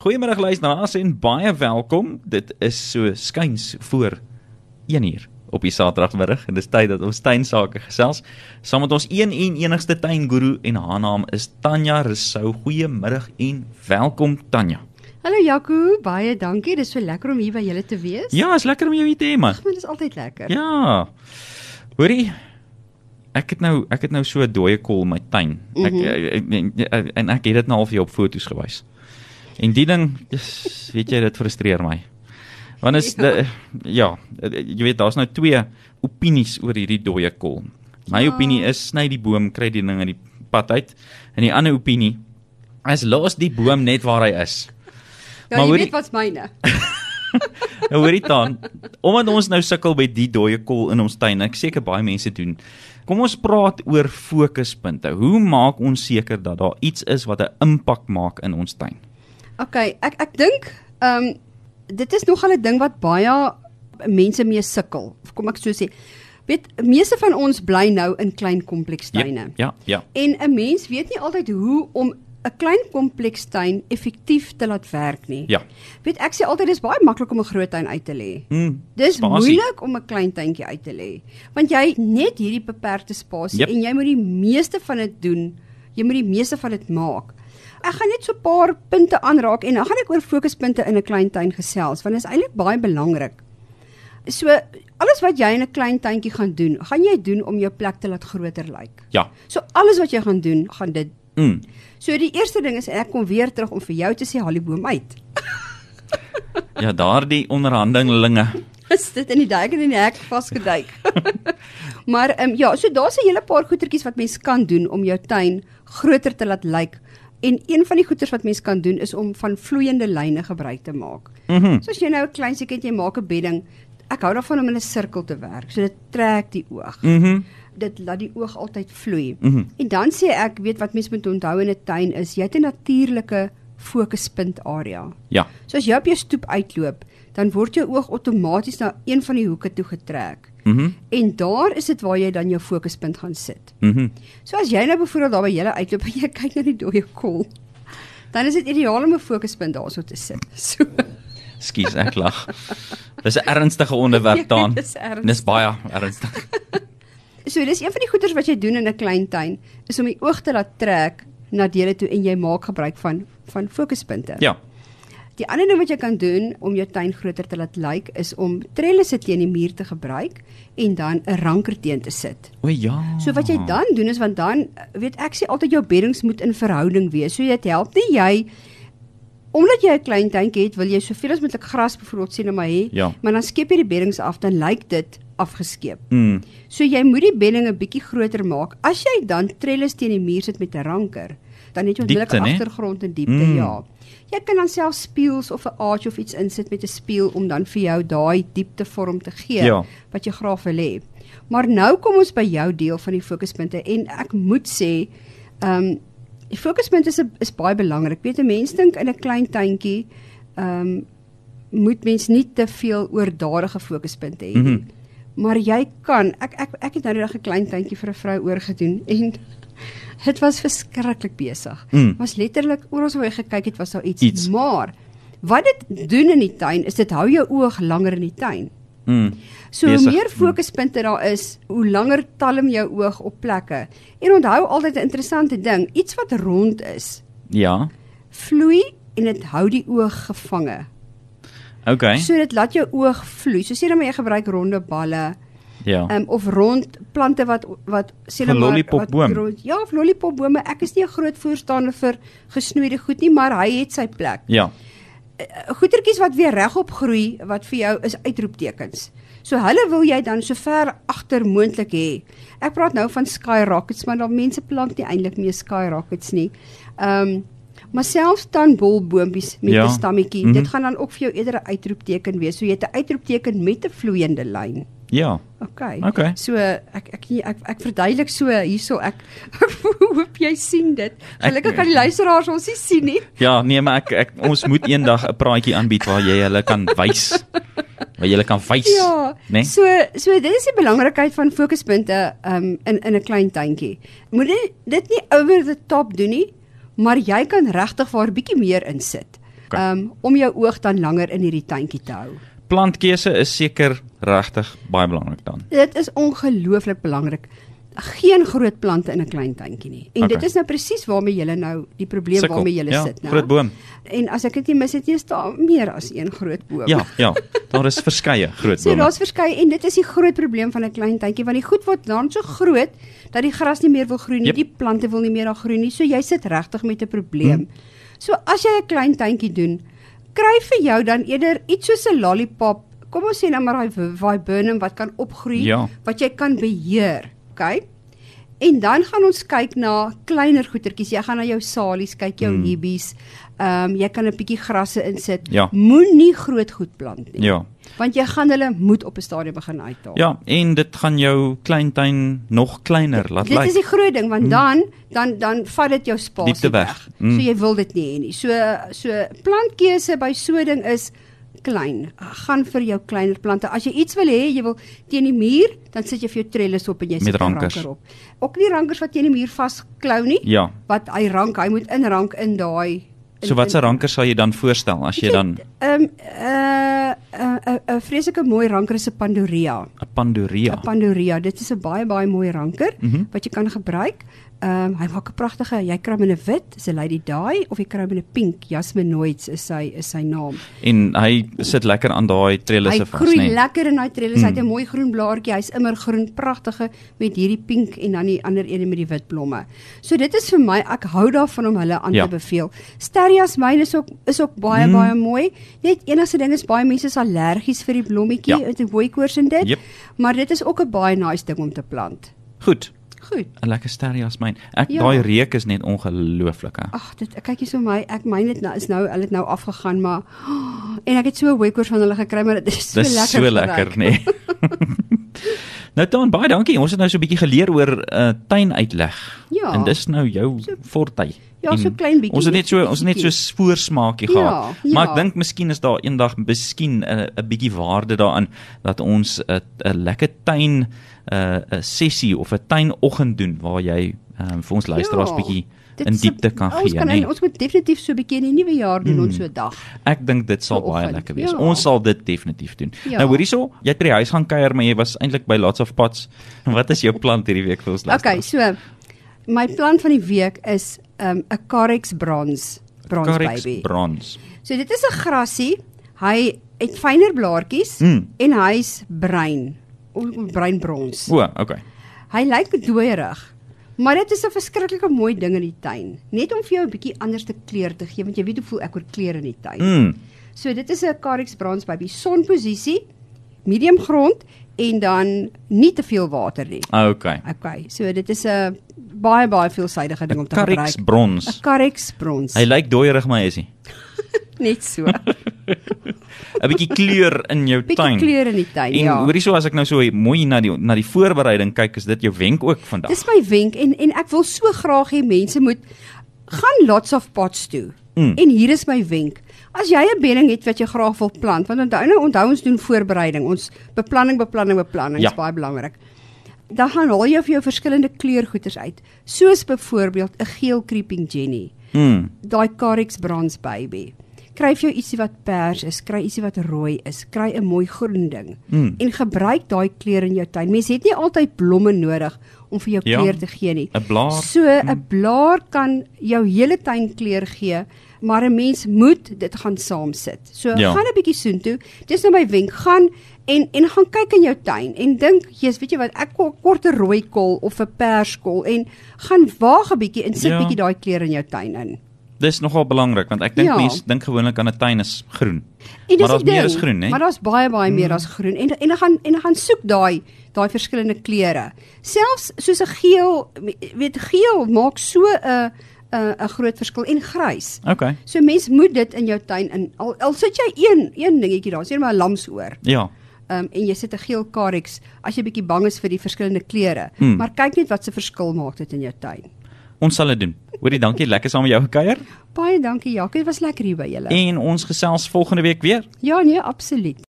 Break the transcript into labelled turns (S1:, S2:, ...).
S1: Goeiemôre luisteraars en baie welkom. Dit is so skuins voor 1uur op die Saterdagmiddag en dis tyd dat ons tuinsake gesels saam met ons een en enigste tuinguru en haar naam is Tanya Resou. Goeiemiddag en welkom Tanya.
S2: Hallo Jaco, baie dankie. Dis so lekker om hier by julle te wees.
S1: Ja, is lekker om jou hier te hê man.
S2: Ag, maar dis altyd lekker.
S1: Ja. Hoorie, ek het nou ek het nou so 'n dooie kol in my tuin. Ek, eh,
S2: Mhm.
S1: ek, ek, ek en ek het dit nou al vir jou op foto's gewys. En die ding, dis, weet jy, dit frustreer my. Want is ja, ja jy weet daar's nou twee opinies oor hierdie dooie kol. My
S2: Ja.
S1: opinie is sny die boom, kry die ding uit die pad uit. En die ander opinie is los die boom net waar hy is.
S2: ja
S1: maar
S2: jy
S1: hoorie-
S2: weet wat's myne.
S1: Nou hoorie dan, omdat ons nou sukkel met die dooie kol in ons tuin, ek seker baie mense doen. Kom ons praat oor fokuspunte. Hoe maak ons seker dat daar iets is wat 'n impak maak in ons tuin?
S2: Okay, ek ek dink ehm dit is nogal 'n ding wat baie mense mee sukkel. Of Kom ek so sê. Weet, meeste van ons bly nou in klein komplekstuine.
S1: Ja, ja, ja.
S2: En 'n mens weet nie altyd hoe om 'n klein komplekstuin effektief te laat werk nie.
S1: Ja.
S2: Weet, ek sê altyd dis baie maklik om 'n groot tuin uit te lê.
S1: Mm,
S2: Dis
S1: spasie.
S2: moeilik om 'n klein tuintjie uit te lê, want jy het net hierdie beperkte spasie
S1: Jep.
S2: en jy moet die meeste van dit doen. Jy moet die meeste van dit maak. Ek gaan net so 'n paar punte aanraak en dan gaan ek oor fokuspunte in 'n klein tuin gesels, want dit is eintlik baie belangrik. So alles wat jy in 'n klein tuintjie gaan doen, gaan jy doen om jou plek te laat groter lyk.
S1: Ja.
S2: So alles wat jy gaan doen, gaan dit.
S1: Mm.
S2: So die eerste ding is ek kom weer terug om vir jou te sê haal die boom uit.
S1: Ja, daardie onderhandelinge.
S2: is dit in die duik en in die hek vasgeduik. maar ehm um, ja, so daar's 'n hele paar goetertjies wat mens kan doen om jou tuin groter te laat lyk. En een van die goeters wat mens kan doen is om van vloeiende lyne gebruik te maak.
S1: Mhm.
S2: So as jy nou 'n klein seetjie het, jy maak 'n bedding. Ek hou daarvan om in 'n sirkel te werk. So dit trek die oog.
S1: Mhm.
S2: Dit laat die oog altyd vloei.
S1: Mhm.
S2: En dan sê ek, weet wat mens moet onthou in 'n tuin is, jy het 'n natuurlike fokuspunt area.
S1: Ja.
S2: So as jy op jou stoep uitloop, dan word jou oog outomaties na een van die hoeke toe getrek.
S1: Mhm.
S2: En daar is dit waar jy dan jou fokuspunt gaan sit.
S1: Mhm.
S2: So as jy nou byvoorbeeld daar by julle uitloop en jy kyk na die dooie kol, dan is dit ideaal om 'n fokuspunt daarso te sit. So
S1: Skus, ek lag. Dis 'n ernstige onderwerp dan.
S2: Ja, Dis ernstig.
S1: Dis baie ernstig.
S2: so dis een van die goeters wat jy doen in 'n klein tuin is om die oog te laat trek na dele toe en jy maak gebruik van van fokuspunte.
S1: Ja.
S2: Die ander ding wat jy kan doen om jou tuin groter te laat lyk is om trellisse teen die muur te gebruik en dan 'n ranker teen te sit.
S1: O ja.
S2: So wat jy dan doen is want dan weet ek sê altyd jou beddings moet in verhouding wees. So dit help nie jy omdat jy 'n klein tuintjie het, wil jy soveel as moontlik gras byvoorbeeld sien maar hê,
S1: Ja.
S2: maar dan skep jy die beddings af, dan lyk dit afgeskeep.
S1: Mm.
S2: So jy moet die bedding 'n bietjie groter maak. As jy dan trellis teen die muur sit met 'n ranker, dan het jy onmiddellik
S1: Diepte,
S2: 'n
S1: né?
S2: agtergrond en diepte,
S1: Mm.
S2: ja. Jy kan dan self spieëls of 'n aartjie of iets insit met 'n spieël om dan vir jou daai dieptevorm te gee
S1: Ja.
S2: wat jy graag wil hê. Maar nou kom ons by jou deel van die fokuspunte en ek moet sê, ehm um, die fokuspunte is is baie belangrik. Weet 'n mens dink in 'n klein tuintjie, ehm um, moet mens nie te veel oordadige fokuspunte hê nie.
S1: Mhm.
S2: Maar jy kan. Ek ek ek het nou net 'n klein tuintjie vir 'n vrou oorgedoen en dit was verskriklik besig.
S1: Mm.
S2: Was letterlik oral waar jy gekyk het was daar iets,
S1: Iets.
S2: maar wat dit doen in die tuin is dit hou jou oog langer in die tuin.
S1: Mm.
S2: So hoe
S1: Besig.
S2: meer fokuspunte daar is, hoe langer talm jou oog op plekke. En onthou altyd 'n interessante ding, iets wat rond is,
S1: Ja.
S2: vloei en dit hou die oog gevange.
S1: Okay.
S2: So dit laat jou oog vloei. So sê dan maar jy gebruik ronde balle
S1: Ja.
S2: um, of rond plante wat wat sê
S1: Van lollipopboom.
S2: wat rond- Ja, of lollipopbome. Ek is nie 'n groot voorstander vir gesnoeide goed nie, maar hy het sy plek.
S1: Ja.
S2: Uh, Goetertjies wat weer regop groei wat vir jou is uitroeptekens. So hulle wil jy dan so ver agter moontlik hê. Ek praat nou van sky rockets, maar dan mense plant nie eintlik meer sky rockets nie. Ehm um, maar selfs dan bolboontjies met 'n
S1: Ja.
S2: stammetjie,
S1: Mhm.
S2: dit gaan dan ook vir jou eerder 'n uitroepteken wees. So jy het 'n uitroepteken met 'n vloeiende lyn.
S1: Ja.
S2: Okay.
S1: Okay.
S2: So ek ek ek, ek verduidelik so hierso ek hoop jy sien dit. Gelukkig kan die luisteraars ons nie sien nie.
S1: Ja, nee, maar ek, ek ons moet eendag 'n praatjie aanbied waar jy hulle kan wys. Waar jy hulle kan wys,
S2: Ja.
S1: né?
S2: So so dit is die belangrikheid van fokuspunte um, in in 'n klein tuintjie. Moet dit dit nie over the top doen nie, maar jy kan regtig waar bietjie meer insit.
S1: Oké.
S2: um, om jou oog dan langer in hierdie tuintjie te hou.
S1: Plantkeuse is seker regtig baie belangrik dan.
S2: Dit is ongelooflik belangrik. Geen groot plante in 'n klein tuintjie nie. En
S1: Oké.
S2: dit is nou presies waarmee jy nou die probleem
S1: Sikkel,
S2: waarmee jy
S1: ja,
S2: sit nou.
S1: Groot boom.
S2: En as ek dit nie mis het, is daar meer as een groot boom.
S1: Ja, ja. Daar is verskeie groot
S2: So
S1: bome.
S2: daar's verskeie en dit is die groot probleem van 'n klein tuintjie want die goed word dan so groot dat die gras nie meer wil groei nie,
S1: Jep.
S2: die plante wil nie meer daar groei nie. So jy sit regtig met 'n probleem.
S1: Hm.
S2: So as jy 'n klein tuintjie doen, kry vir jou dan eerder iets soos 'n lollipop. Kom ons sê nou maar daai vi- viburnum wat kan opgroei,
S1: Ja.
S2: wat jy kan beheer, OK? En dan gaan ons kyk na kleiner goetertjies. Jy gaan na jou salies kyk,
S1: Hm.
S2: jou hibbies. Ehm jy kan 'n bietjie grasse insit.
S1: Ja.
S2: Moenie groot goed plant nie.
S1: Ja.
S2: Want jy gaan hulle moed op 'n stadium begin uithaal.
S1: Ja, en dit gaan jou kleintuin nog kleiner laat
S2: Dit is
S1: lyk. Hm.
S2: die groot ding want dan dan dan vat dit jou spasie
S1: Diepte weg. Mm.
S2: So jy wil dit nie hê nie. So so plantkeuse by so 'n ding is klein. Gaan vir jou kleiner plante. As jy iets wil hê, jy wil teen die muur, dan sit jy vir jou trellis op en jy
S1: Met
S2: sit 'n
S1: rankers.
S2: ranker op. Ook nie rankers wat teen die muur vasklou nie,
S1: Ja.
S2: wat hy rank, hy moet inrank in daai
S1: So
S2: in-
S1: er-
S2: in-
S1: watse ranker sal jy dan voorstel as jy dan
S2: Ehm eh, eh, 'n 'n vreeslike mooi ranker is 'n Pandorea.
S1: 'n
S2: 'n
S1: Pandorea.
S2: Pandorea. Dit is 'n baie baie mooi ranker
S1: Ja. Mhm.
S2: wat jy kan gebruik. Ehm hy maak 'n pragtige, jy kry hom in 'n wit, is 'n Lady Di of jy kry hom in 'n pink, Jasmine Noids is sy is sy naam.
S1: En hy sit lekker aan daai
S2: Hy
S1: trellisse vas,
S2: groei
S1: né?
S2: lekker in daai trellis. Hy het
S1: Mhm.
S2: 'n mooi groen blaartjie. Hy's immer groen, pragtige met hierdie pink en dan die ander een met die wit blomme. So dit is vir my, ek hou daarvan om hulle aan
S1: Ja. Mhm.
S2: te beveel. Sterias myn is ook is ook baie baie mooi. Net enigste ding is baie mense is allergies vir die blommetjie,
S1: Ja.
S2: met die hooikoors en dit.
S1: Jep.
S2: Maar dit is ook 'n baie nice ding om te plant.
S1: Goed.
S2: Goed.
S1: 'n Lekker sterrie as myn. Ek
S2: Ja. Ah,
S1: daai reuk is net ongelooflik hè.
S2: Ag, dit kyk hier so my, ek myn dit nou is nou, hulle het nou afgegaan, maar en ek het so 'n hoekoors van hulle gekry, maar dit is so
S1: Dis
S2: lekker.
S1: so lekker, nê. Nee. nou dan baie dankie. Ons het nou so 'n bietjie geleer oor uh, tuinuitleg.
S2: Ja.
S1: En dis nou jou
S2: So-
S1: forte.
S2: Ja,
S1: En
S2: so klein bietjie,
S1: Ons het net
S2: net
S1: so ons het net so
S2: bietjie.
S1: spoorsmaakie
S2: Ja,
S1: gehad.
S2: ja.
S1: Maar ek dink miskien is daar eendag miskien 'n 'n bietjie waarde daaraan dat ons 'n 'n lekker tuin 'n 'n sessie of 'n tuinoggend doen waar jy um, vir ons luisteraars bietjie
S2: Ja, dit
S1: in
S2: is 'n-
S1: diepte kan
S2: ons
S1: gee, nee.
S2: Kan,
S1: nê? Mm.
S2: en Ons moet definitief so 'n bietjie in die nuwe jaar doen ons so 'n dag.
S1: Ek dink dit sal
S2: Vir
S1: baie
S2: oggend,
S1: lekker wees.
S2: ja.
S1: Ons sal dit definitief doen.
S2: Ja.
S1: Nou hoor hierso, jy het by die huis gaan kuier, maar jy was eintlik by Lots of Pots. Wat is jou plan hierdie week vir ons
S2: Okay,
S1: luisteraars?
S2: so my plan van die week is 'n um, Carex brons, brons
S1: Carex
S2: baby.
S1: brons.
S2: So dit is 'n grassie. Hy het fyner blaartjies
S1: Mm.
S2: en hy's bruin. O, bruin brons.
S1: O, okay.
S2: Hy lyk dooierig. Maar dit is 'n verskriklike mooi ding in die tuin. Net om vir jou 'n bietjie anders te kleur te gee, want jy weet hoe voel ek oor kleure in die tuin.
S1: Mm.
S2: So dit is 'n Carex Brans baby sonposisie, medium grond en dan nie te veel water nie.
S1: Okay.
S2: Okay, so dit is 'n baie baie veelsidige ding om te
S1: Carex
S2: gebruik.
S1: brons.
S2: 'n Carex Brans.
S1: Hy lyk dooierig maar hy is hy.
S2: Net so.
S1: 'n bietjie kleur in jou
S2: Bietjie
S1: tuin.
S2: kleur in die tuin,
S1: En
S2: ja.
S1: hoor hierso as ek nou so mooi na die na die voorbereiding kyk, is dit jou wenk ook vandag.
S2: Dis my wenk en en ek wil so graag hê mense moet gaan lots of pots toe.
S1: Mm.
S2: En hier is my wenk. As jy 'n bedding het wat jy graag wil plant, want onthou nou onthou ons doen voorbereiding. Ons beplanning, beplanning, beplanning
S1: Ja.
S2: is baie belangrik. Dan gaan haal jy vir jou verskillende kleurgoeders uit, soos byvoorbeeld 'n geel creeping jenny,
S1: Mm.
S2: daai Carex brons baby. Kry vir jou ietsie wat pers is, kry ietsie wat rooi is, kry 'n mooi groen ding
S1: Mm.
S2: en gebruik daai kleur in jou tuin. Mense het nie altyd blomme nodig om vir jou
S1: Ja.
S2: kleur te gee nie.
S1: 'n Blaar. Mm.
S2: So 'n blaar kan jou hele tuin kleur gee, maar 'n mens moet dit gaan saam sit. So
S1: Ja.
S2: gaan 'n bietjie soontoe. Dis nou my wenk, gaan en en gaan kyk in jou tuin en dink, jy's weet jy wat, ek ko- kort 'n rooi kol of 'n perskol en gaan waag 'n bietjie en sit
S1: Ja.
S2: bietjie daai kleur in jou tuin in.
S1: Dis nogal belangrik want ek dink
S2: Ja.
S1: mense dink gewoonlik aan 'n tuin is groen. maar
S2: En dis
S1: daar's
S2: die
S1: meer
S2: ding,
S1: as groen, nee? Hmm. né?
S2: Maar daar's baie baie meer as groen. En en dan gaan en dan gaan soek daai daai verskillende kleure. Selfs soos 'n geel, weet geel maak so 'n 'n 'n groot verskil en grys.
S1: Okay.
S2: So mens moet dit in jou tuin in. Al, al sit jy een een dingetjie daar, sien maar 'n lamsoor.
S1: Ja.
S2: Ehm um, en jy sit 'n geel karex as jy bietjie bang is vir die verskillende kleure.
S1: Mm.
S2: Maar kyk net wat se verskil maak dit in jou tuin.
S1: Ons sal dit doen. Hoorie, dankie, lekker saam met jou gekuier.
S2: Baie dankie Jacques, dit was lekker hier by julle.
S1: En ons gesels volgende week weer.
S2: Ja nee, absoluut.